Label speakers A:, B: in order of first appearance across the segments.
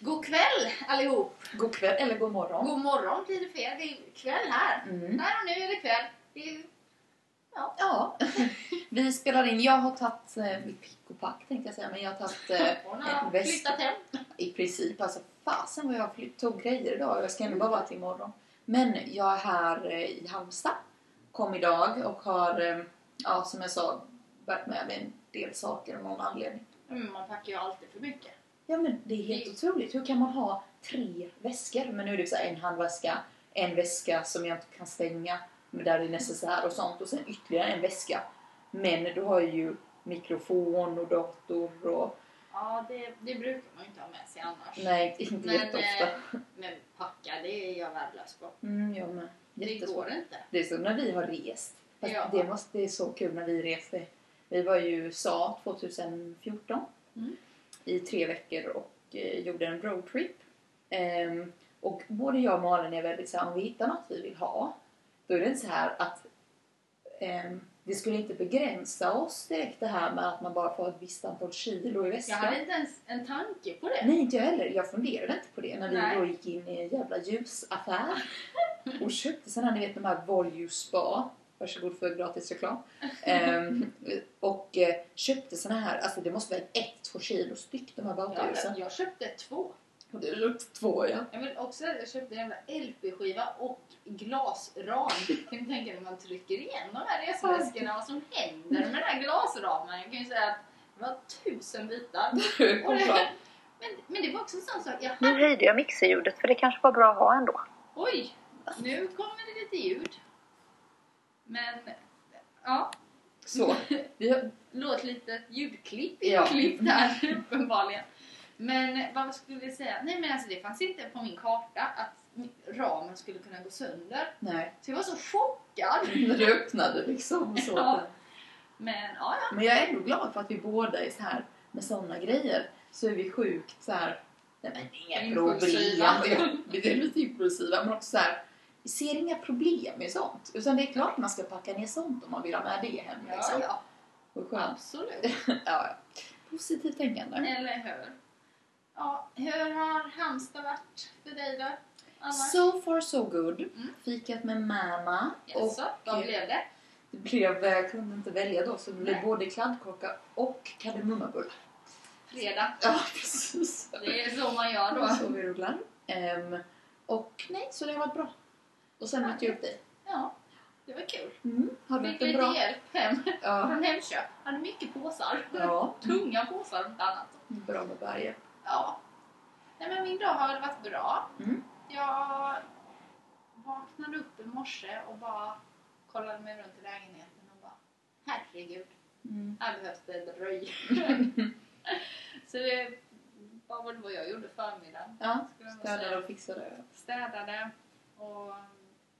A: God kväll allihop!
B: God kväll, eller god morgon.
A: God morgon blir det för er. Det är kväll här.
B: Mm.
A: Här och nu är det kväll. Det är...
B: Ja, vi spelar in. Jag har tagit eh, mitt pick och pack tänkte jag säga, men jag har tagit eh,
A: Hon
B: en
A: har
B: väst.
A: flyttat hem.
B: i princip, alltså fasen vad jag fly- tog grejer idag. Jag ska ändå bara vara till imorgon. Men jag är här eh, i Halmstad, kom idag och har, eh, ja som jag sa, bärt med mig en del saker av någon anledning.
A: Mm, man packar ju alltid för mycket.
B: Ja men det är helt
A: Det-
B: otroligt. Hur kan man ha tre väskor? Men nu är det så här en handväska, en väska som jag inte kan stänga men där det är necessär och sånt och sen ytterligare en väska. Men du har ju mikrofon och dator och
A: Ja, det, det brukar man ju inte ha med sig annars.
B: nej, inte
A: Men,
B: jätteofta.
A: eh, Men packa, det är jag värdelös på.
B: Mm, jag med.
A: Det
B: Jättesvårt.
A: går inte.
B: Det är så när vi har rest. Fast
A: Ja.
B: det, måste, det är så kul när vi reste. Vi var ju i USA 2014
A: Mm.
B: i tre veckor och eh, gjorde en roadtrip. Ehm, och både jag och Malin är väldigt så här, om vi hittar något vi vill ha, då är det inte så här att ehm, det skulle inte begränsa oss direkt det här med att man bara får ett visst antal kilo i
A: Jag
B: väskan.
A: hade inte ens en tanke på det.
B: Nej, inte jag heller. Jag funderade inte på det när vi
A: Nej.
B: då gick in i en jävla ljusaffär och köpte sådana, ni vet de här Volju Spa. Varsågod för gratis reklam. Ehm, och eh, köpte sådana här, alltså det måste vara ett, två kilo styck de här
A: Jag,
B: bakelserna.
A: jag köpte två.
B: Och det är två ja.
A: Jag vill också jag köpte en jävla LP-skiva och glasram. kan du tänka dig när man trycker igen de här resväskorna vad som händer med den här glasramen? Jag kan ju säga att det var tusen bitar. Och det, men, men det var också en sån sak. Jag,
C: Nu höjde jag mixerljudet för det kanske var bra att ha ändå.
A: oj, nu kommer det lite ljud. Men ja,
B: Så. Vi har,
A: låt lite ljudklipp
B: Ja.
A: inklippt här uppenbarligen. Men vad skulle jag säga? Nej men alltså det fanns inte på min karta att ramen skulle kunna gå sönder.
B: nej,
A: Så jag var så chockad.
B: när du öppnade liksom. Så.
A: Ja. Men ja, ja.
B: Men jag är ändå glad för att vi båda är så här med sådana grejer så är vi sjukt så här. Nej men inga problem.
A: Impulsiva.
B: Det- Det är lite impulsiva men också så här. Vi ser inga problem med sånt. Utan det är klart man ska packa ner sånt om man vill ha med det hem.
A: ja,
B: liksom.
A: ja.
B: Och skönt.
A: Absolut.
B: Ja, ja. Positivt tänkande.
A: Eller hur? Ja, hur har Halmstad varit för dig då? Annars?
B: So far so good.
A: Mm.
B: Fikat med mamma. Och
A: Jaså, vad blev det?
B: det blev, jag kunde inte välja då så det blev
A: Nej.
B: både kladdkaka och kardemummabulle.
A: Fredag.
B: Ja precis.
A: Det är så man gör
B: Då
A: då.
B: sov vi i rullar. Ehm, och nej, så det har varit bra. Och sen mötte jag upp dig.
A: Ja, det var kul.
B: Mm. Har du
A: Fick
B: haft en
A: lite
B: bra...
A: hjälp hem
B: Ja.
A: från Hemköp. Hade mycket påsar.
B: ja,
A: Tunga påsar om inte annat.
B: bra med berget.
A: Ja. Nej men min dag har väl varit bra.
B: Mm.
A: Jag vaknade upp i morse och bara kollade mig runt i lägenheten och bara herregud,
B: Mm.
A: här behövs det en röj. Så det var väl vad jag gjorde förmiddagen.
B: Ja,
A: skulle jag nog
B: städade
A: säga.
B: och fixade.
A: Städade och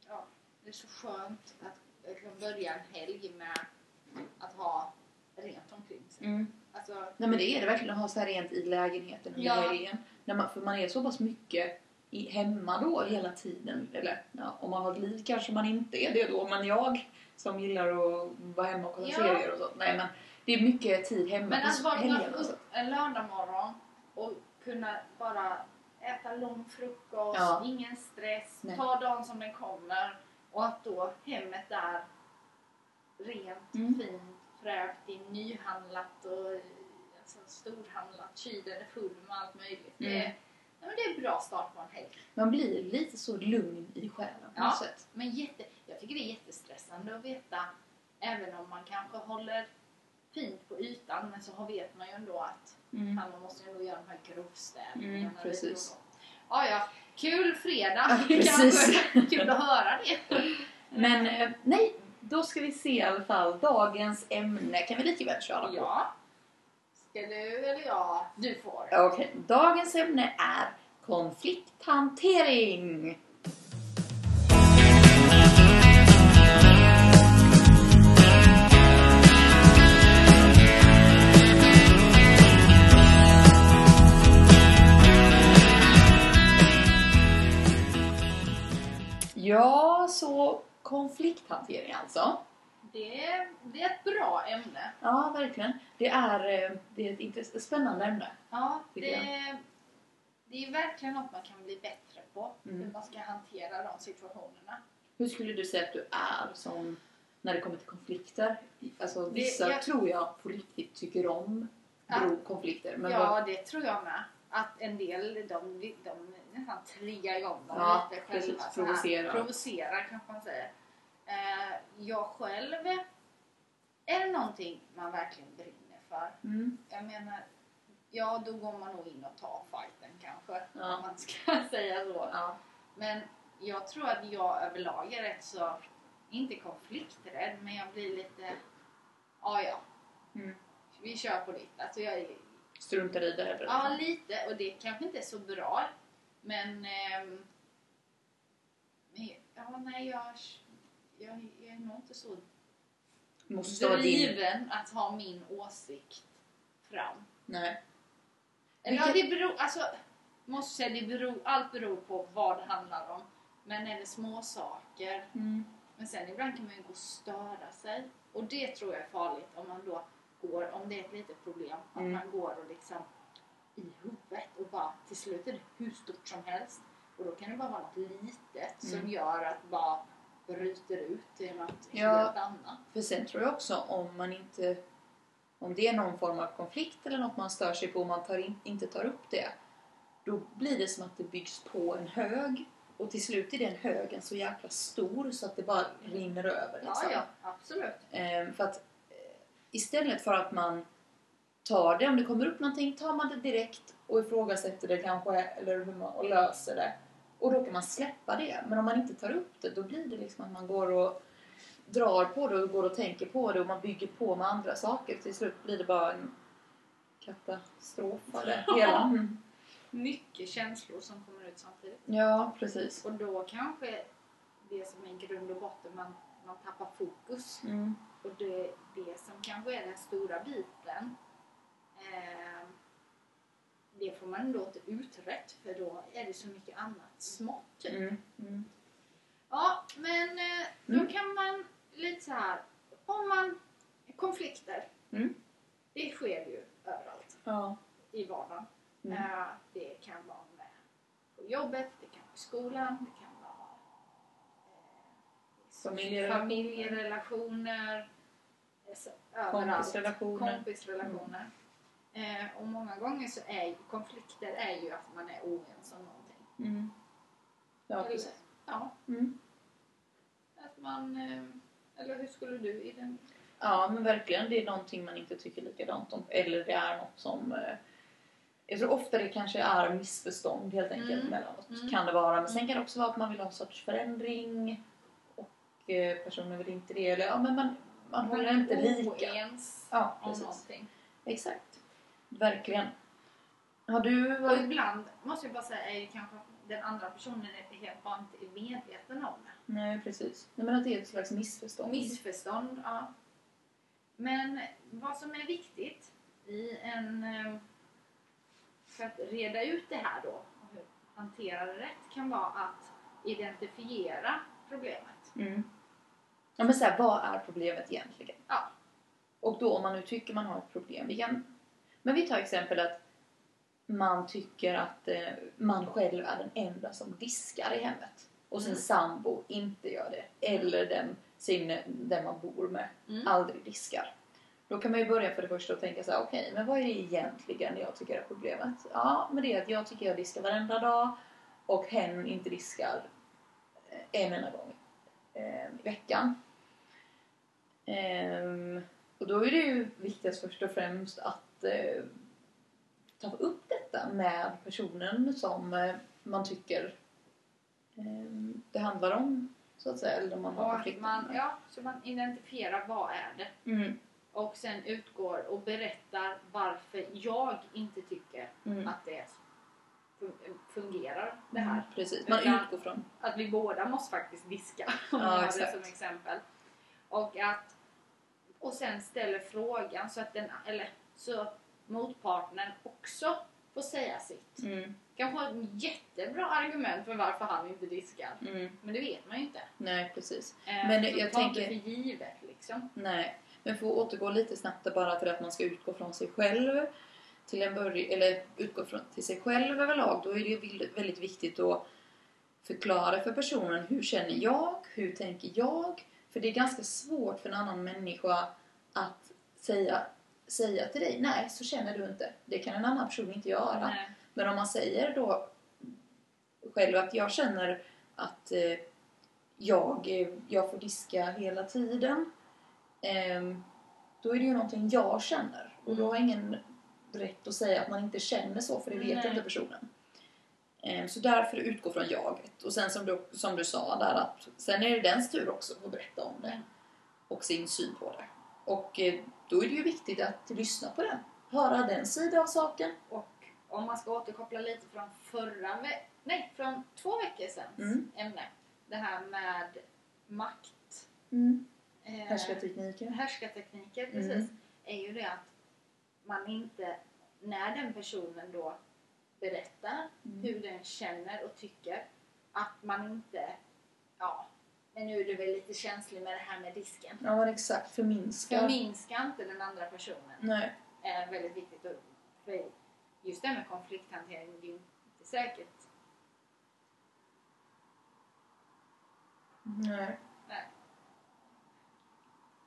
A: ja, det är så skönt att jag kan börja en helg med att ha rent omkring sig.
B: Mm.
A: Alltså,
B: Nej men det är det verkligen att ha så här rent i lägenheten under
A: Ja.
B: helgen. När man, för man är så pass mycket i, hemma då hela tiden. Eller ja, om man har ett liv kanske man inte är det då. Men jag som gillar att vara hemma och kolla
A: Ja.
B: serier och sånt. Nej men det är mycket tid hemma
A: Men att
B: på
A: vakna
B: helgerna. Alltså.
A: upp en lördag morgon och kunna bara äta lång frukost,
B: Ja.
A: ingen stress,
B: Nej.
A: ta dagen som den kommer och att då hemmet är rent,
B: Mm.
A: fint, fräscht, det är nyhandlat och eh, alltså, storhandlat, kylen är full med allt möjligt. Det, är,
B: Mm.
A: ja, men det är en bra start på en helg.
B: Man blir lite så lugn i själen på
A: Ja.
B: något sätt.
A: Men jätte, jag tycker det är jättestressande att veta, även om man kanske håller fint på ytan, men så har- vet man ju ändå att
B: Mm.
A: Fan, man måste ju ändå göra de här grovstädningarna.
B: Mm,
A: lite
B: precis.
A: och då. Ja, ja. Kul fredag!
B: Ja, precis.
A: Kanske. Kul att höra det.
B: Men eh, nej, då ska vi se i alla fall dagens ämne. Kan vi lika väl köra på?
A: Ja. Ska du eller jag? Du får.
B: Okej, dagens ämne är konflikthantering. Ja, så konflikthantering alltså.
A: Det, är- det är ett bra ämne.
B: Ja, verkligen. Det är, eh, det är ett intress- spännande ämne.
A: Ja,
B: Tycker
A: det, Det är ju verkligen något man kan bli bättre på.
B: Mm.
A: Hur man ska hantera de situationerna.
B: Hur skulle du säga att du är som när det kommer till konflikter? Alltså
A: Det-
B: vissa
A: jag-
B: tror jag på riktigt tycker om
A: Ja.
B: bro- konflikter. Men
A: ja,
B: vad-
A: det tror jag med. Att en del, de, de, nästan triggar igång dem
B: Ja,
A: lite
B: precis.
A: själva. så här.
B: Provocerar.
A: Provocerar kanske man säger. Eh, jag själv, är det någonting man verkligen brinner för?
B: mm,
A: Jag menar, ja då går man nog in och tar fighten kanske.
B: Ja.
A: Om man ska säga så.
B: ja.
A: Men jag tror att jag överlag är rätt så, inte konflikträdd, men jag blir lite, ja ja,
B: Mm.
A: vi kör på nytt. Alltså jag är,
B: Struntar i det heller.
A: ja lite, och det kanske inte är så bra, men, ehm, men ja nej jag, jag, jag är nog inte så
B: Måste vara din...
A: driven att ha min åsikt fram.
B: Nej.
A: Eller, ja,
B: Vilket-
A: det beror, alltså, måste säga, det beror, allt beror på vad det handlar om. Men är det små saker
B: Mm.
A: Men sen ibland kan man ju gå och störa sig. Och det tror jag är farligt om man då går, om det är ett litet problem, att
B: Mm.
A: man går och liksom i huvudet och bara till slut är det hur stort som helst. Och då kan det bara vara något litet
B: Mm.
A: som gör att bara bryter ut till något
B: Ja.
A: helt annat.
B: För sen tror jag också om man inte... Om det är någon form av konflikt eller något man stör sig på och man tar in, inte tar upp det. Då blir det som att det byggs på en hög. Och till slut är den högen så jäkla stor så att det bara rinner över. liksom.
A: Ja, ja, absolut.
B: Ehm, för att eh, istället för att man tar det, om det kommer upp någonting, tar man det direkt och ifrågasätter det kanske eller hur man, och löser det. Och då kan man släppa det. Men om man inte tar upp det, då blir det liksom att man går och drar på det och går och tänker på det och man bygger på med andra saker. Till slut blir det bara en katastrof av det hela. Mm.
A: Mycket känslor som kommer ut samtidigt.
B: Ja, precis.
A: Och då kanske det som är grund och botten, man, man tappar fokus.
B: Mm.
A: Och det är det som kanske är den stora biten. Eh, det får man ändå inte utrett för då är det så mycket annat smått. typ.
B: Mm. Mm.
A: Ja, men eh, då
B: Mm.
A: kan man lite så här. Om man... Konflikter.
B: Mm.
A: Det sker ju överallt
B: Ja.
A: i vardagen.
B: Mm.
A: Eh, det kan vara med på jobbet, det kan vara i skolan, det kan vara eh,
B: Familjerelationer.
A: familjerelationer, eh, så- överallt.
B: Kompisrelationer.
A: Kompisrelationer. Eh, och många gånger så är ju- konflikter är ju att man är oense om någonting.
B: Mm. Ja,
A: Eller-
B: precis.
A: Ja,
B: Mm.
A: att man... eh, Eller hur skulle du i den...
B: Ja, men verkligen. Det är någonting man inte tycker likadant om. Eller det är något som... eh, Jag tror ofta det kanske är missförstånd helt enkelt
A: Mm.
B: mellan oss.
A: Mm.
B: Kan det vara. Men sen kan det också vara att man vill ha en sorts förändring. Och eh, personen vill inte det. Eller ja, men man, man håller inte lika.
A: Oens
B: Ja,
A: om
B: precis.
A: någonting.
B: Exakt. Verkligen. Har du...
A: Och
B: varit-
A: ibland, måste jag bara säga, är ju kanske att den andra personen är helt bara inte är medveten om det.
B: Nej, precis. Nej, men att det är ett slags missförstånd.
A: Missförstånd, ja. Men vad som är viktigt i en... eh, För att reda ut det här då, och hur- hantera det rätt, kan vara att identifiera problemet.
B: Mm. Ja, men så här, vad är problemet egentligen?
A: Ja.
B: Och då om man nu tycker man har ett problem. Vi kan, men vi tar exempel att man tycker att eh, man själv är den enda som diskar i hemmet. Och sin
A: Mm.
B: sambo inte gör det. Eller den, sin, den man bor med
A: Mm.
B: aldrig diskar. Då kan man ju börja för det första och tänka så här, okej, men vad är det egentligen jag tycker är problemet? Ja, men det är att jag tycker jag diskar varenda dag och hen inte diskar eh, en enda gång eh, i veckan. Ehm, och då är det ju viktigast först och främst att eh, ta upp detta med personen som eh, man tycker eh, det handlar om, så att säga, eller om man har
A: Och
B: konflikter
A: man,
B: med.
A: ja, så man identifierar vad är det
B: Mm,
A: och sen utgår och berättar varför jag inte tycker
B: mm.
A: att det fun- fungerar det här.
B: Mm, Precis, man
A: Utan-
B: utgår från.
A: att vi båda måste faktiskt diska. Om
B: Ja,
A: vi har det
B: exakt.
A: som exempel. Och, att, och sen ställer frågan så att den, eller, så att motparten också får säga sitt.
B: Mm,
A: Kanske har ett jättebra argument för varför han inte diskar.
B: mm.
A: Men det vet man ju inte.
B: Nej, precis.
A: Eh,
B: Men
A: så
B: jag
A: ta inte
B: tänker-
A: för givet liksom.
B: Nej. Men för att återgå lite snabbt där bara till att man ska utgå från sig själv. till en början, eller utgår från till sig själv överlag, då är det ju vill- väldigt viktigt att förklara för personen hur känner jag, hur tänker jag? För det är ganska svårt för en annan människa att säga, säga till dig, nej så känner du inte. Det kan en annan person inte göra.
A: Nej.
B: Men om man säger då själv att jag känner att eh, jag, eh, jag får diska hela tiden. ehm, då är det ju någonting jag känner. Och då har ingen rätt att säga att man inte känner så, för det vet
A: Nej.
B: inte personen. Ehm, så därför utgå från jaget. Och sen som du, som du sa där att sen är det dens tur också att berätta om det. Och sin syn på det. Och eh, då är det ju viktigt att lyssna på den. Höra den sida av saken.
A: Och om man ska återkoppla lite från förra ve- nej, från två veckor sedan
B: Mm.
A: ämne. Det här med makt. eh,
B: Härskartekniken.
A: härskartekniker, precis. Är ju det att man inte, när den personen då berättar
B: Mm.
A: hur den känner och tycker, att man inte, ja, men nu är du väl lite känslig med det här med disken.
B: Ja, men exakt. Förminska.
A: Förminska inte den andra personen.
B: Nej.
A: är väldigt viktigt. Och för just det här med konflikthantering, det är ju inte säkert.
B: Nej.
A: Nej.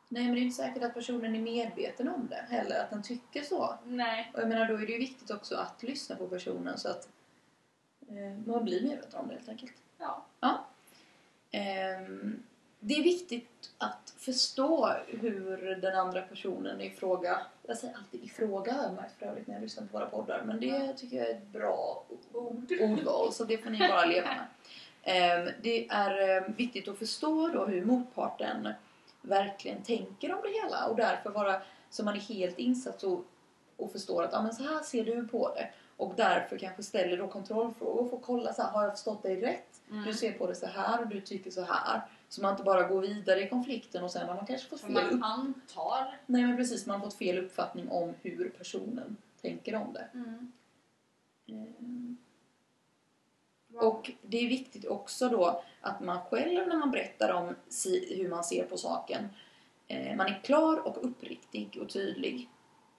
B: Nej, men det är inte säkert att personen är medveten om det heller, att den tycker så.
A: Nej.
B: Och jag menar, då är det ju viktigt också att lyssna på personen så att eh, man blir medveten om det helt enkelt.
A: Ja.
B: Ehm, det är viktigt att förstå hur den andra personen i fråga... Jag säger alltid i fråga hör man för övrigt när jag lyssnar på våra poddar. Men det tycker jag är ett bra ord- ordval, så det får ni bara leva med. Ehm, det är eh, viktigt att förstå då hur motparten verkligen tänker om det hela och därför vara så man är helt insatt och, och förstår att ah, men så här ser du på det och därför kanske ställer då kontrollfrågor för att kolla så här, har jag förstått dig rätt?
A: Mm.
B: Du ser på det så här och du tycker så här. Så man inte bara går vidare i konflikten och sen har man kanske fått
A: För
B: fel, upp...
A: man antar.
B: Nej, men precis, man har fått fel uppfattning om hur personen tänker om det. Ehm, Och det är viktigt också då att man själv när man berättar om si- hur man ser på saken, eh, man är klar och uppriktig och tydlig.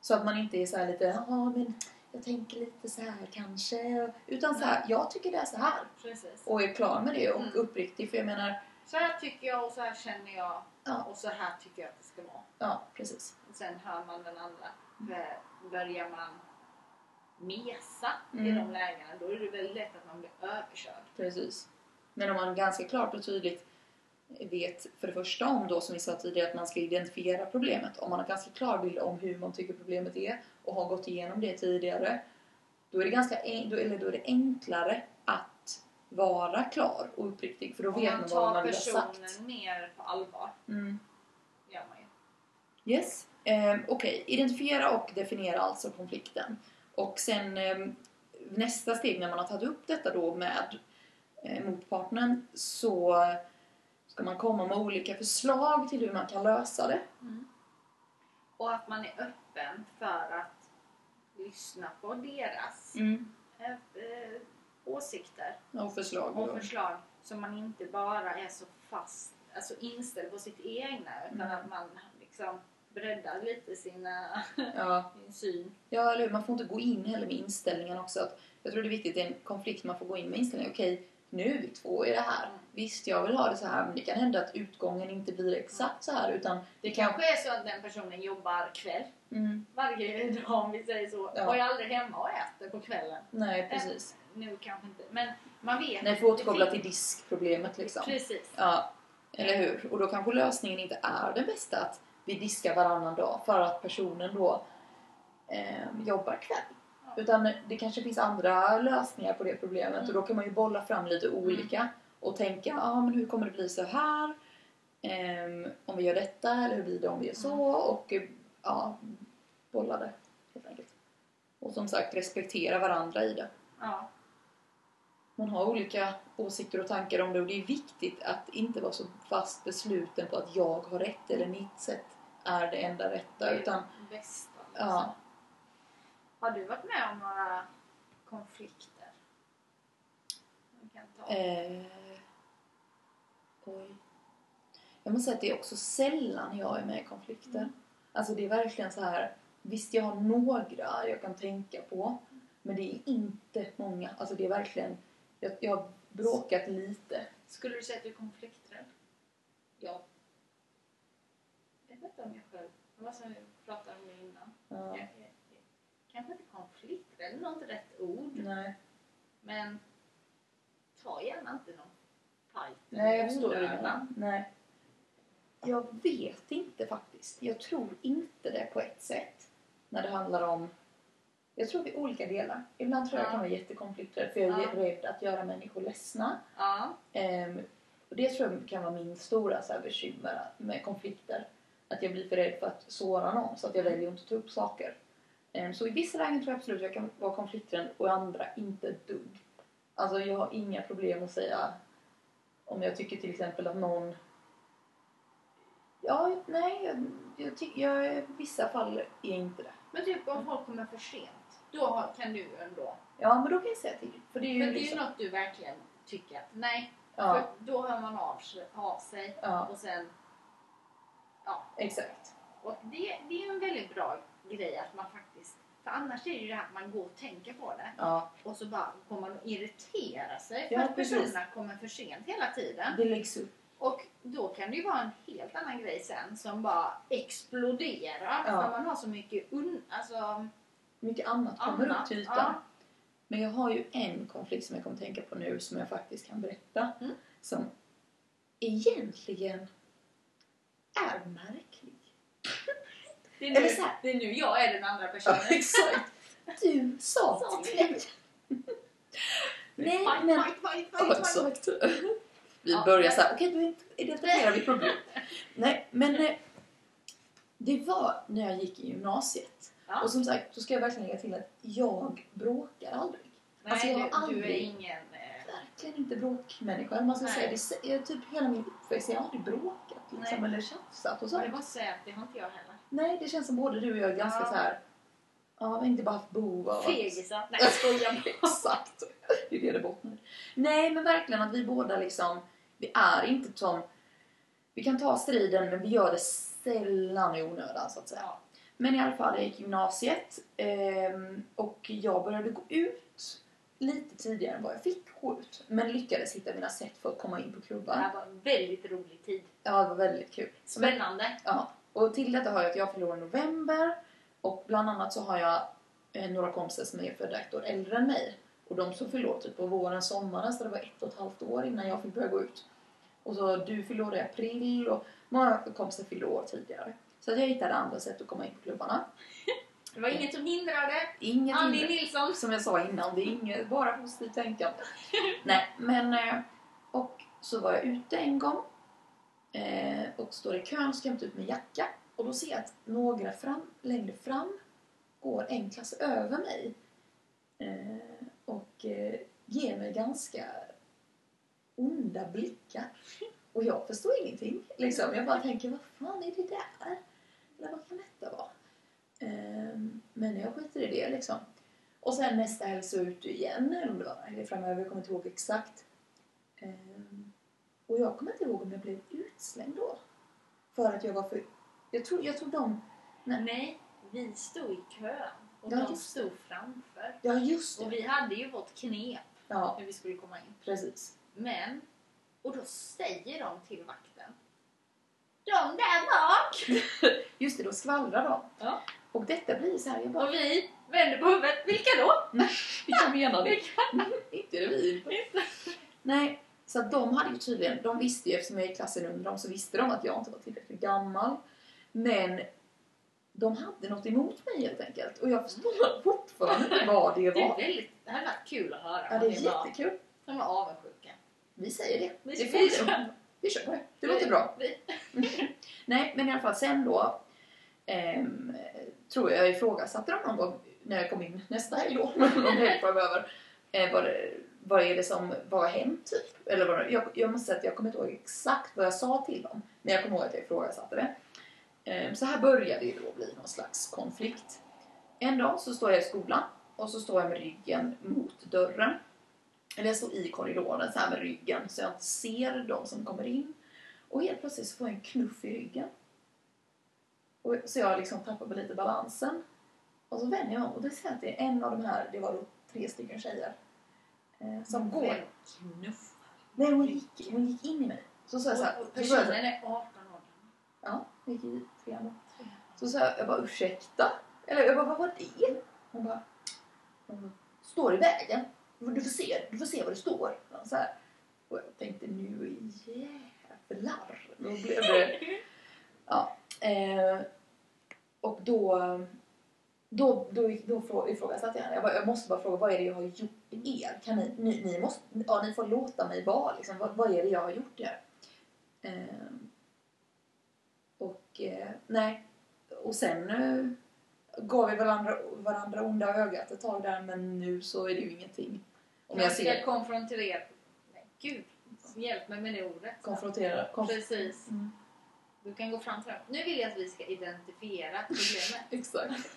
B: Så att man inte är så här lite, ja men jag tänker lite så här kanske. Utan så här, jag tycker det är så här.
A: Precis.
B: Och är klar med det och
A: Mm.
B: uppriktig. För jag menar,
A: Så här tycker jag och så här känner jag
B: Ja.
A: och så här tycker jag att det ska vara.
B: ja precis.
A: Och sen hör man den andra.
B: Mm.
A: För Börjar man mesa i
B: Mm.
A: de lägena då är det väldigt lätt att man blir överkörd.
B: Precis. Men om man ganska klart och tydligt vet för det första om då som vi sa tidigare att man ska identifiera problemet. Om man har ganska klar bild om hur man tycker problemet är och har gått igenom det tidigare. Då är det, ganska en, då, eller då är det enklare att vara klar och uppriktig för då
A: Om
B: vet man,
A: man
B: vad
A: tar
B: man vill ha
A: personen
B: sagt.
A: mer på allvar.
B: Mm.
A: Gör man ju.
B: Yes. Eh, Okej, identifiera och definiera alltså konflikten. Och sen eh, nästa steg när man har tagit upp detta då med eh, motpartnern så ska man komma med olika förslag till hur man kan lösa det.
A: Och att man är öppen för att lyssna på deras
B: Mm.
A: eh, eh, åsikter
B: Och förslag.
A: och
B: då.
A: förslag. Så man inte bara är så fast, alltså inställd på sitt egna utan
B: Mm.
A: att man liksom breddar lite sina,
B: Ja.
A: sin syn.
B: ja, eller hur? Man får inte gå in heller med inställningen också. Att jag tror det är viktigt i en konflikt, man får gå in med inställningen. Okej, nu är vi två i det här.
A: Mm.
B: Visst, jag vill ha det så här, men det kan hända att utgången inte blir exakt så här utan det kanske...
A: Kanske är så att den personen jobbar kväll
B: Mm.
A: varje dag om vi säger så.
B: Ja.
A: Och är aldrig hemma och äter på kvällen.
B: Nej, precis.
A: Nu kanske inte, men man vet.
B: Nej, för att återkoppla till diskproblemet liksom.
A: Precis.
B: Ja, eller hur? Och då kanske lösningen inte är den bästa att vi diskar varannan dag för att personen då eh, jobbar kväll.
A: Ja.
B: Utan det kanske finns andra lösningar på det problemet och då
A: Mm.
B: kan man ju bolla fram lite olika och tänka, ja ah, men hur kommer det bli så här? Ehm, om vi gör detta eller hur blir det om vi gör så?
A: Mm.
B: Och eh, ja, bolla det helt enkelt. Och som sagt respektera varandra i det
A: Ja.
B: man har olika åsikter och tankar om det och det är viktigt att inte vara så fast besluten på att jag har rätt eller mitt sätt är det enda
A: Det
B: rätta
A: är
B: utan
A: det bästa. liksom.
B: ja,
A: Har du varit med om några konflikter? Man kan ta.
B: eh, oj. Jag måste säga att det är också sällan jag är med i konflikter.
A: Mm.
B: Alltså det är verkligen så här Visst, jag har några jag kan tänka på. Men det är inte många. Alltså det är verkligen... Jag, jag har bråkat lite.
A: Skulle du säga att du är konflikträdd? Ja. Jag vet inte om jag själv... Det var som vi pratade om innan.
B: Ja.
A: Jag, jag, jag, kanske inte konflikträdd, det är inte rätt ord.
B: Nej.
A: Men ta gärna inte någon fight.
B: Nej, jag
A: i
B: förstår det.
A: onödan.
B: Nej. Jag vet inte faktiskt. Jag tror inte det på ett sätt. När det handlar om... Jag tror vi är olika delar. Ibland tror jag
A: Ja.
B: jag kan vara jättekonflikträdd för jag är
A: Ja.
B: rädd att göra människor ledsna.
A: Ja.
B: Ehm, och det tror jag kan vara min stora så här, bekymmer med konflikter. Att jag blir för rädd för att såra någon så att jag väljer att inte ta upp saker. Ehm, så i vissa lägen tror jag absolut att jag kan vara konflikträdd och i andra inte ett dugg. Alltså jag har inga problem att säga om jag tycker till exempel att någon... Ja, nej, jag, jag tycker... Jag, I vissa fall är jag inte det.
A: Men typ om folk kommer för sent, då har- kan du ändå...
B: Ja, men då kan jag säga till. För det är
A: För
B: ju
A: det är ju
B: liksom...
A: något du verkligen tycker att nej,
B: Ja,
A: för då hör man av sig, av sig
B: ja,
A: och sen...
B: exakt.
A: Och det, det är ju en väldigt bra grej att man faktiskt... För annars är det ju det här att man går och tänker på det
B: Ja,
A: och så bara kommer man att irritera sig för
B: Ja,
A: att
B: precis.
A: personerna kommer för sent hela tiden.
B: det läggs upp.
A: Och då kan det ju vara en helt annan grej sen som bara exploderar
B: Ja.
A: för man har så mycket un... Alltså,
B: Mycket annat kommer
A: annat.
B: upp till ytan.
A: Ja.
B: Men jag har ju en konflikt som jag kommer tänka på nu som jag faktiskt kan berätta.
A: Mm.
B: Som egentligen är märklig.
A: Det, är
B: Eller
A: nu,
B: så här.
A: det är nu jag är den andra personen.
B: exakt. Du sa
A: Sa
B: till
A: till
B: mig. Nej,
A: Fight,
B: men...
A: fight, fight, fight,
B: Ja,
A: fight.
B: exakt. Vi
A: Ja.
B: börjar så här, okej du inte- identifierar vi problem. Nej, men eh, det var när jag gick i gymnasiet.
A: Ja.
B: Och som sagt, så ska jag verkligen lägga till att jag bråkar aldrig.
A: Nej,
B: Alltså, jag har
A: du, du är
B: aldrig-
A: ingen... eh,
B: verkligen inte bråkmänniska. Man ska
A: Nej.
B: säga, det, sä- jag, typ hela min uppväxt, jag har aldrig bråkat liksom,
A: Nej.
B: eller tjafsat och så.
A: Jag måste säga att det har inte jag heller.
B: Nej, det känns som både du och jag är ganska
A: Ja.
B: så här. Ja, vi har inte bara haft behov av att-
A: Fegisar. Nej, jag skojar bara.
B: Exakt. Det är det det bottnar i. Nej, men verkligen att vi båda liksom, vi är inte som, vi kan ta striden men vi gör det sällan i onödan så att säga.
A: Ja.
B: Men i alla fall, jag gick gymnasiet ehm, och jag började gå ut lite tidigare än vad jag fick gå ut. Men lyckades hitta mina sätt för att komma in på
A: Det
B: klubbar.
A: här var en väldigt rolig tid.
B: Ja, det var väldigt kul. Men-
A: Spännande.
B: Ja, och till detta har jag att jag förlorar november och bland annat så har jag eh, några kompisar som är födda ett år äldre än mig och de som förlorade typ på våren, sommaren så det var ett och ett halvt år innan jag fick börja gå ut. Och så du förlorade i april och många kompisar fyllde år tidigare. Så att jag hittade andra sätt att komma in på klubbarna.
A: Det var inget som hindrade.
B: Inget
A: Annie
B: hinder.
A: Nilsson.
B: Som jag sa innan, det är inget, bara positivt tänkande. Nej, men... eh, Och så var jag ute en gång eh, och står i kön och ska hämta ut min jacka. Och då ser jag att några fram, längre fram går en klass över mig eh, och eh, ger mig ganska onda blickar. Och jag förstår ingenting. Liksom. Jag bara tänker, vad fan är det där? Eller vad kan detta vara? Ehm, men jag skiter i det liksom. Och sen nästa helg så är jag ute igen, eller om det var helgen framöver, jag kommer inte ihåg exakt. Ehm, och jag kommer inte ihåg om jag blev utslängd då. För att jag var för... Jag tror, jag tror de...
A: Nej, vi stod i kön. Och
B: Ja,
A: de
B: just
A: stod framför.
B: Ja, just
A: Och
B: det.
A: vi hade ju vårt knep
B: Ja,
A: hur vi skulle komma in.
B: precis.
A: Men, och då säger de till vakten. De där bak!
B: Just det, då skvallrar de.
A: Ja.
B: Och detta blir så här, jag bara...
A: Och vi vänder på huvudet. Vilka då?
B: Jag menar
A: det.
B: inte revir. Nej, så att de hade ju tydligen, de visste ju eftersom jag är i klassen under dem så visste de att jag inte var tillräckligt gammal. Men de hade något emot mig helt enkelt och jag förstår fortfarande inte vad det
A: Det, är
B: var.
A: väldigt, det hade varit kul att höra.
B: Ja,
A: om
B: det är
A: var.
B: jättekul.
A: De var avundsjuka.
B: Vi säger det.
A: Vi-
B: det
A: vi
B: får vi, vi kör på det. Det låter bra.
A: Vi-
B: Nej, men i alla fall sen då ehm, tror jag jag ifrågasatte dem någon gång när jag kom in nästa helg då, någon helg framöver. Eh, vad, det, vad är det som var hänt typ? Eller vad, det- jag, jag måste säga att jag kommer inte ihåg exakt vad jag sa till dem. Men jag kommer ihåg att jag ifrågasatte det. Ehm, så här började det då bli någon slags konflikt. En dag så står jag i skolan och så står jag med ryggen mot dörren. Eller jag står i korridoren så här med ryggen så jag inte ser de som kommer in. Och helt plötsligt så får jag en knuff i ryggen. Och, så jag liksom tappar på lite balansen. Och så vänder jag mig om och då ser jag att det är en av de här, det var då tre stycken tjejer. Eh, som går.
A: Vem knuffar?
B: Nej, hon gick, hon gick in i mig. Så sa jag så här,
A: Och- och
B: så sa jag så här,
A: Personen är 18 år gammal.
B: Ja, det gick i trean då. Så sa jag, jag bara ursäkta? Eller jag bara, vad var det? Hon bara, hon bara, står i vägen. Du får se, du får se vad det står. Så här. Och jag tänkte nu jävlar. Då blev det... Ja. Eh, och då, då, då, gick- då frå- ifrågasatte jag henne. Jag, bara, jag måste bara fråga, vad är det jag har gjort er? Kan ni, ni, ni, måste, ja, ni får låta mig vara. Liksom. Vad, vad är det jag har gjort er? Eh, och eh, nej. Och sen eh, gav vi varandra, varandra onda ögat ett tag där men nu så är det ju ingenting. Om jag
A: ska
B: ser
A: konfrontera... Nej, gud. Hjälp mig med det ordet.
B: konfrontera. Konf-
A: Precis.
B: Mm.
A: Du kan gå fram till dem. Nu vill jag att vi ska identifiera problemet.
B: Exakt.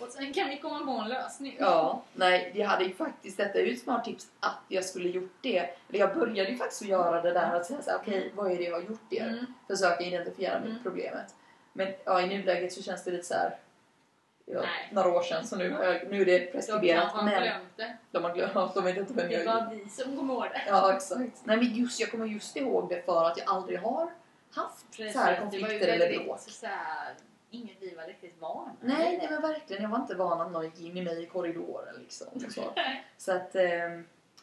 A: Och sen kan vi komma på en lösning.
B: Ja, nej, jag hade ju faktiskt, detta är ju ett smart tips att jag skulle gjort det. Eller jag började ju faktiskt att göra det där att säga såhär, okej vad är det jag har gjort det?
A: Mm.
B: Försöka identifiera med
A: Mm.
B: problemet. Men ja, i nuläget så känns det lite såhär, ja,
A: Nej.
B: några år sedan så nu, har jag- nu är det
A: De
B: preskriberat.
A: kanske har
B: men
A: glömt det.
B: de har glömt, de vet inte vem jag
A: Det
B: är.
A: var vi som kom ihåg det.
B: Ja, exakt. Nej, men just, jag kommer just ihåg det för att jag aldrig har haft så här konflikter eller bråk.
A: så här, ingen vi var riktigt vana
B: Nej, nej men verkligen. Jag var inte van att någon gick in i mig i korridoren liksom. och Så, så att, eh,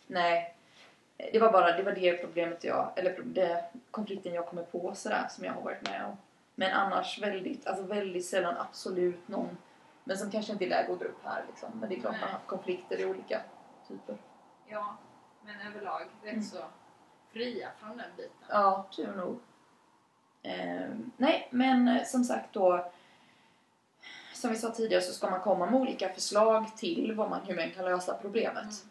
B: nej. Det var bara det, var det problemet jag, eller pro- det, konflikten jag kommer på sådär som jag har varit med om. Men annars väldigt, alltså väldigt sällan absolut någon, men som kanske inte är läge att dra upp här liksom. Men det är klart man har
A: Nej.
B: haft konflikter i olika typer.
A: Ja, men överlag rätt
B: Mm.
A: så fria från den biten.
B: Ja, tur nog. Ehm, nej, men eh, som sagt då. Som vi sa tidigare så ska man komma med olika förslag till vad man, hur man kan lösa problemet.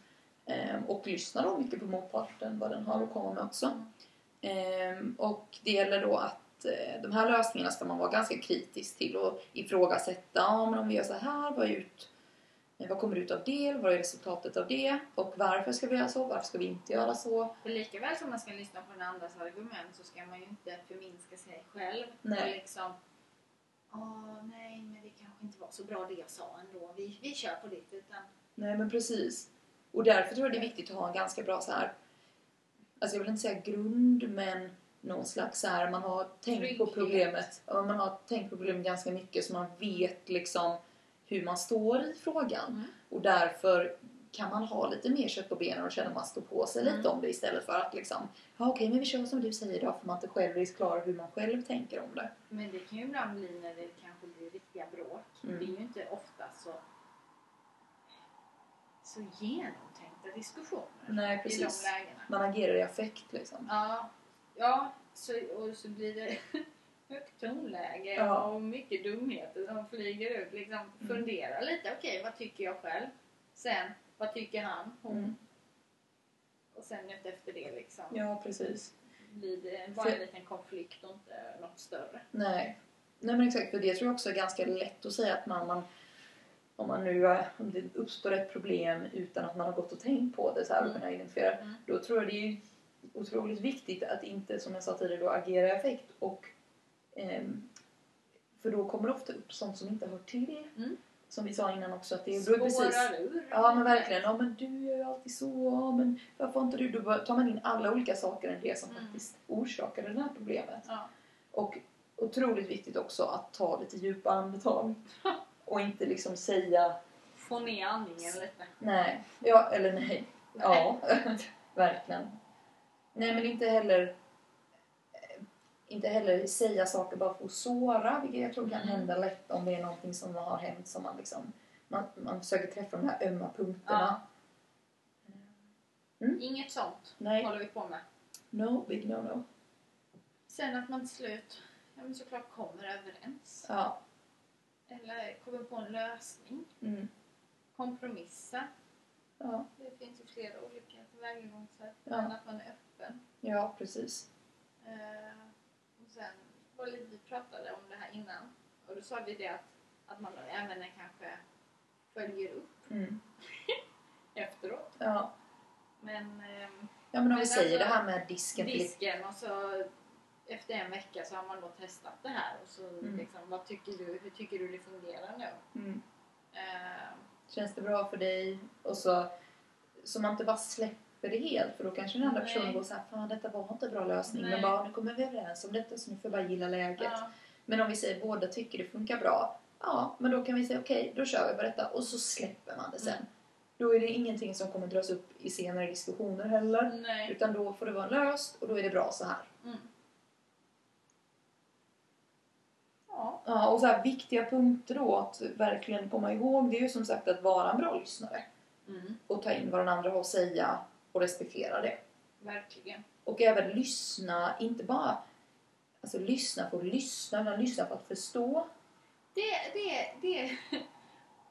B: Ehm, och lyssna då mycket på motparten, vad den har att komma med också.
A: Mm.
B: Ehm, och det gäller då att eh, de här lösningarna ska man vara ganska kritisk till och ifrågasätta. Ja, men om vi gör så här, vad, är ut, eh, vad kommer ut av det? Vad är resultatet av det? Och varför ska vi göra så? Varför ska vi inte göra så?
A: För lika väl som man ska lyssna på den andras argument så ska man ju inte förminska sig själv.
B: Nej.
A: Och liksom, Åh, nej, men det kanske inte var så bra det jag sa ändå. Vi, vi kör på ditt. Utan,
B: Nej men precis. Och därför tror jag det är viktigt att ha en ganska bra så här. Alltså jag vill inte säga grund men någon slags så här, man har tänkt på
A: Trygghet.
B: problemet. Ja, man har tänkt på problemet ganska mycket så man vet liksom hur man står i frågan.
A: Mm.
B: Och därför kan man ha lite mer kött på benen och känna att man står på sig lite
A: Mm.
B: om det istället för att liksom ja okej men vi kör som du säger då för man inte själv är klar hur man själv tänker om det.
A: men det kan ju ibland bli när det kanske blir riktiga bråk.
B: Mm.
A: Det är ju inte ofta så, så genomtänkta diskussioner
B: Nej
A: i de
B: precis.
A: lägena.
B: Man agerar i affekt liksom.
A: Ja, ja så, och så blir det högt tonläge
B: Ja. Mm.
A: och mycket dumheter som flyger ut. Liksom, Fundera lite, okej vad tycker jag själv? Sen, vad tycker han? Hon?
B: Mm.
A: Och sen ut efter det liksom.
B: Ja precis.
A: Blir det bara en
B: För-
A: liten konflikt och inte något större.
B: Nej. Nej men exakt, för det tror jag också är ganska lätt att säga att man, man om man nu eh, om det uppstår ett problem utan att man har gått och tänkt på det så här och
A: Mm.
B: kunnat identifiera
A: Mm.
B: då tror jag det är otroligt viktigt att inte, som jag sa tidigare, då agera i affekt och ehm, för då kommer det ofta upp sånt som inte hör till.
A: Mm.
B: Som vi sa innan också att det är, då är det precis
A: Spårar ur.
B: Ja men verkligen. Ja men du gör ju alltid så. Ja, men varför har inte du? Då bara tar man in alla olika saker än det som
A: Mm.
B: faktiskt orsakade det här problemet.
A: Ja.
B: Och otroligt viktigt också att ta lite djupa andetag. och inte liksom säga
A: Få ner andningen lite.
B: nej. Ja eller nej. Ja. verkligen. Nej men inte heller eh, inte heller säga saker bara för att såra, vilket jag tror kan
A: Mm.
B: hända lätt om det är någonting som har hänt som man liksom man, man försöker träffa de här ömma punkterna.
A: Ja.
B: Mm.
A: Inget sånt
B: Nej.
A: håller vi på med.
B: No, big no no.
A: Sen att man till slut ja, men såklart kommer överens.
B: Ja.
A: Eller kommer på en lösning.
B: Mm.
A: kompromissa.
B: Ja.
A: Det finns ju flera olika tillvägagångssätt.
B: Ja.
A: Men att man är öppen.
B: ja, precis.
A: Eh, och sen var det, vi pratade om det här innan. Och då sa vi det att, att man även kanske följer upp
B: Mm.
A: efteråt.
B: Ja.
A: Men ehm,
B: ja, men om
A: Men
B: vi säger
A: alltså,
B: det här med disken. till-
A: disken och så efter en vecka så har man då testat det här. Och så
B: Mm.
A: liksom, vad tycker du, hur tycker du det fungerar nu?
B: Mm.
A: Eh,
B: Känns det bra för dig? Och så, så man inte bara släpper det helt för då kanske den andra
A: Nej.
B: personen går så här, fan detta var inte en bra lösning. Men
A: Nej.
B: bara, nu kommer vi överens om detta så nu får jag bara gilla läget.
A: ja,
B: Men om vi säger båda tycker det funkar bra, ja, men då kan vi säga okej, då kör vi på detta och så släpper man det sen.
A: Mm.
B: Då är det ingenting som kommer dras upp i senare diskussioner heller,
A: nej.
B: utan då får det vara löst och då är det bra så här.
A: Mm. Ja.
B: Ja, och så här viktiga punkter då att verkligen komma ihåg, det är ju som sagt att vara en bra lyssnare
A: Mm.
B: och ta in vad den andra har att säga och respektera det.
A: Verkligen.
B: Och även lyssna, inte bara alltså lyssna för att lyssna, utan lyssna för att förstå.
A: Det, det, det,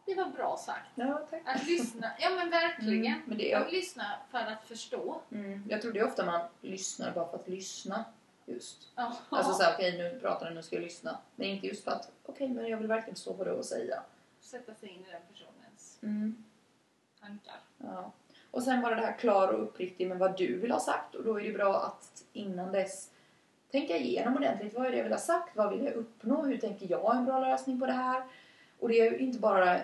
A: det var bra sagt.
B: Ja, tack.
A: Att lyssna. Ja men verkligen.
B: Mm, men det,
A: Att lyssna för att förstå.
B: Mm. Jag tror det är ofta man lyssnar bara för att lyssna. Just.
A: Ja.
B: Alltså såhär, okej nu pratar den, nu ska jag lyssna. Men inte just för att, okej men jag vill verkligen förstå vad du har att säga.
A: Sätta sig in i den personens tankar.
B: Ja. Och sen var det det här klar och uppriktig med vad du vill ha sagt. Och då är det bra att innan dess tänka igenom ordentligt. Vad är det jag vill ha sagt? Vad vill jag uppnå? Hur tänker jag en bra lösning på det här? Och det är ju inte bara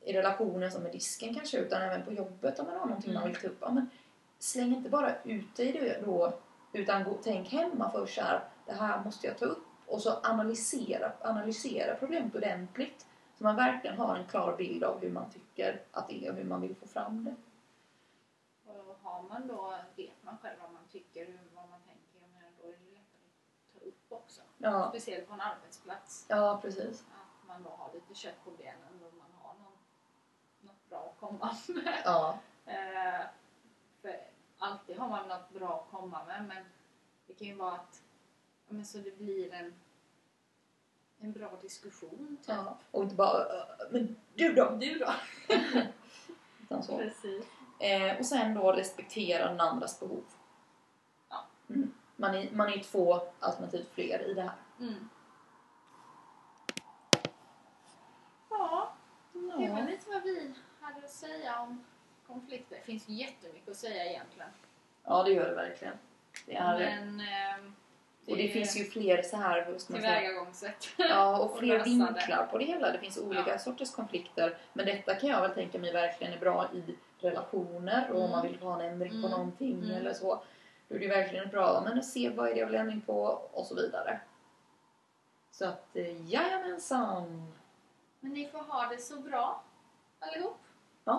B: i relationen som med disken kanske, utan även på jobbet om man har någonting man
A: Mm.
B: vill ta upp. Ja, men släng inte bara ut dig det då, utan gå, tänk hemma först så här, det här måste jag ta upp. Och så analysera, analysera problemet ordentligt. Så man verkligen har en klar bild av hur man tycker att det är och hur man vill få fram det.
A: Och har man då, vet man själv vad man tycker och vad man tänker, ja, men då är det lättare att ta upp också.
B: Ja,
A: Speciellt på en arbetsplats.
B: ja precis.
A: Att man då har lite kött på benen och man har någon, något bra att komma med.
B: Ja,
A: Eh, för alltid har man något bra att komma med men det kan ju vara att ja, men så det blir en, en bra diskussion. Typ.
B: ja. Och inte bara, "Ö, men du då?
A: Du då?
B: Utan så.
A: Precis.
B: Eh, och sen då respektera den andras behov.
A: Ja.
B: Mm. Man, är, man är två alternativt fler i det här.
A: Mm. Ja, det var lite vad vi hade att säga om konflikter. Det finns ju jättemycket att säga egentligen.
B: Ja, det gör det verkligen. Det är det.
A: Men ehm,
B: Och det finns ju fler så här... vad ska man säga?
A: tillvägagångssätt.
B: Ja,
A: och
B: och fler
A: lösa
B: vinklar på det hela. Det finns olika
A: Ja.
B: sorters konflikter. Men detta kan jag väl tänka mig verkligen är bra i relationer och om
A: Mm.
B: man vill ha en ändring på
A: Mm.
B: någonting
A: Mm.
B: eller så. Då är det verkligen bra men att se vad är det jag vill ändring på och så vidare. Så att eh, jajamensan!
A: Men ni får ha det så bra allihop.
B: Eh,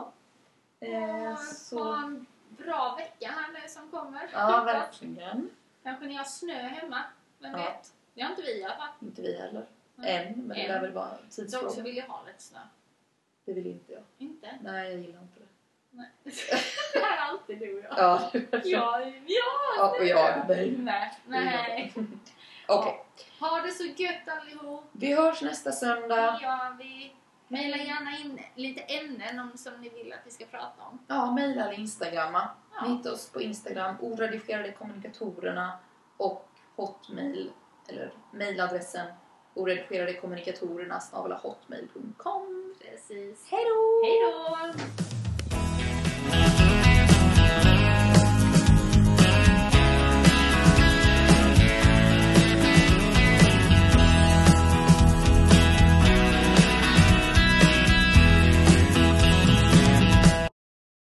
A: Och Ha
B: så...
A: en bra vecka här nu som kommer.
B: Ja, verkligen.
A: Kanske ni har snö hemma, vem
B: Ja.
A: vet? Det har inte vi i alla fall.
B: Inte vi heller.
A: Nej.
B: Än, men det
A: Än.
B: lär väl vara en
A: Jag också
B: tidsfråga.
A: vill ju ha lite snö.
B: Det vill inte jag.
A: Inte?
B: Nej, jag gillar inte det.
A: Nej. det här är alltid du och jag.
B: Ja,
A: Ja, ja,
B: Ja, och
A: snö.
B: jag, nej.
A: Nej, nej.
B: Okej,
A: Ha det så gött allihop.
B: vi hörs nästa
A: Det
B: söndag.
A: gör vi. Mejla gärna in lite ämnen om, som ni vill att vi ska prata om.
B: Ja, mejla eller instagramma.
A: Ja.
B: Ni hittar oss på Instagram, oredigerade kommunikatorerna och hotmail, eller mejladressen oredigerade kommunikatorerna hotmail.com.
A: Precis.
B: Hej då!
A: Hej då!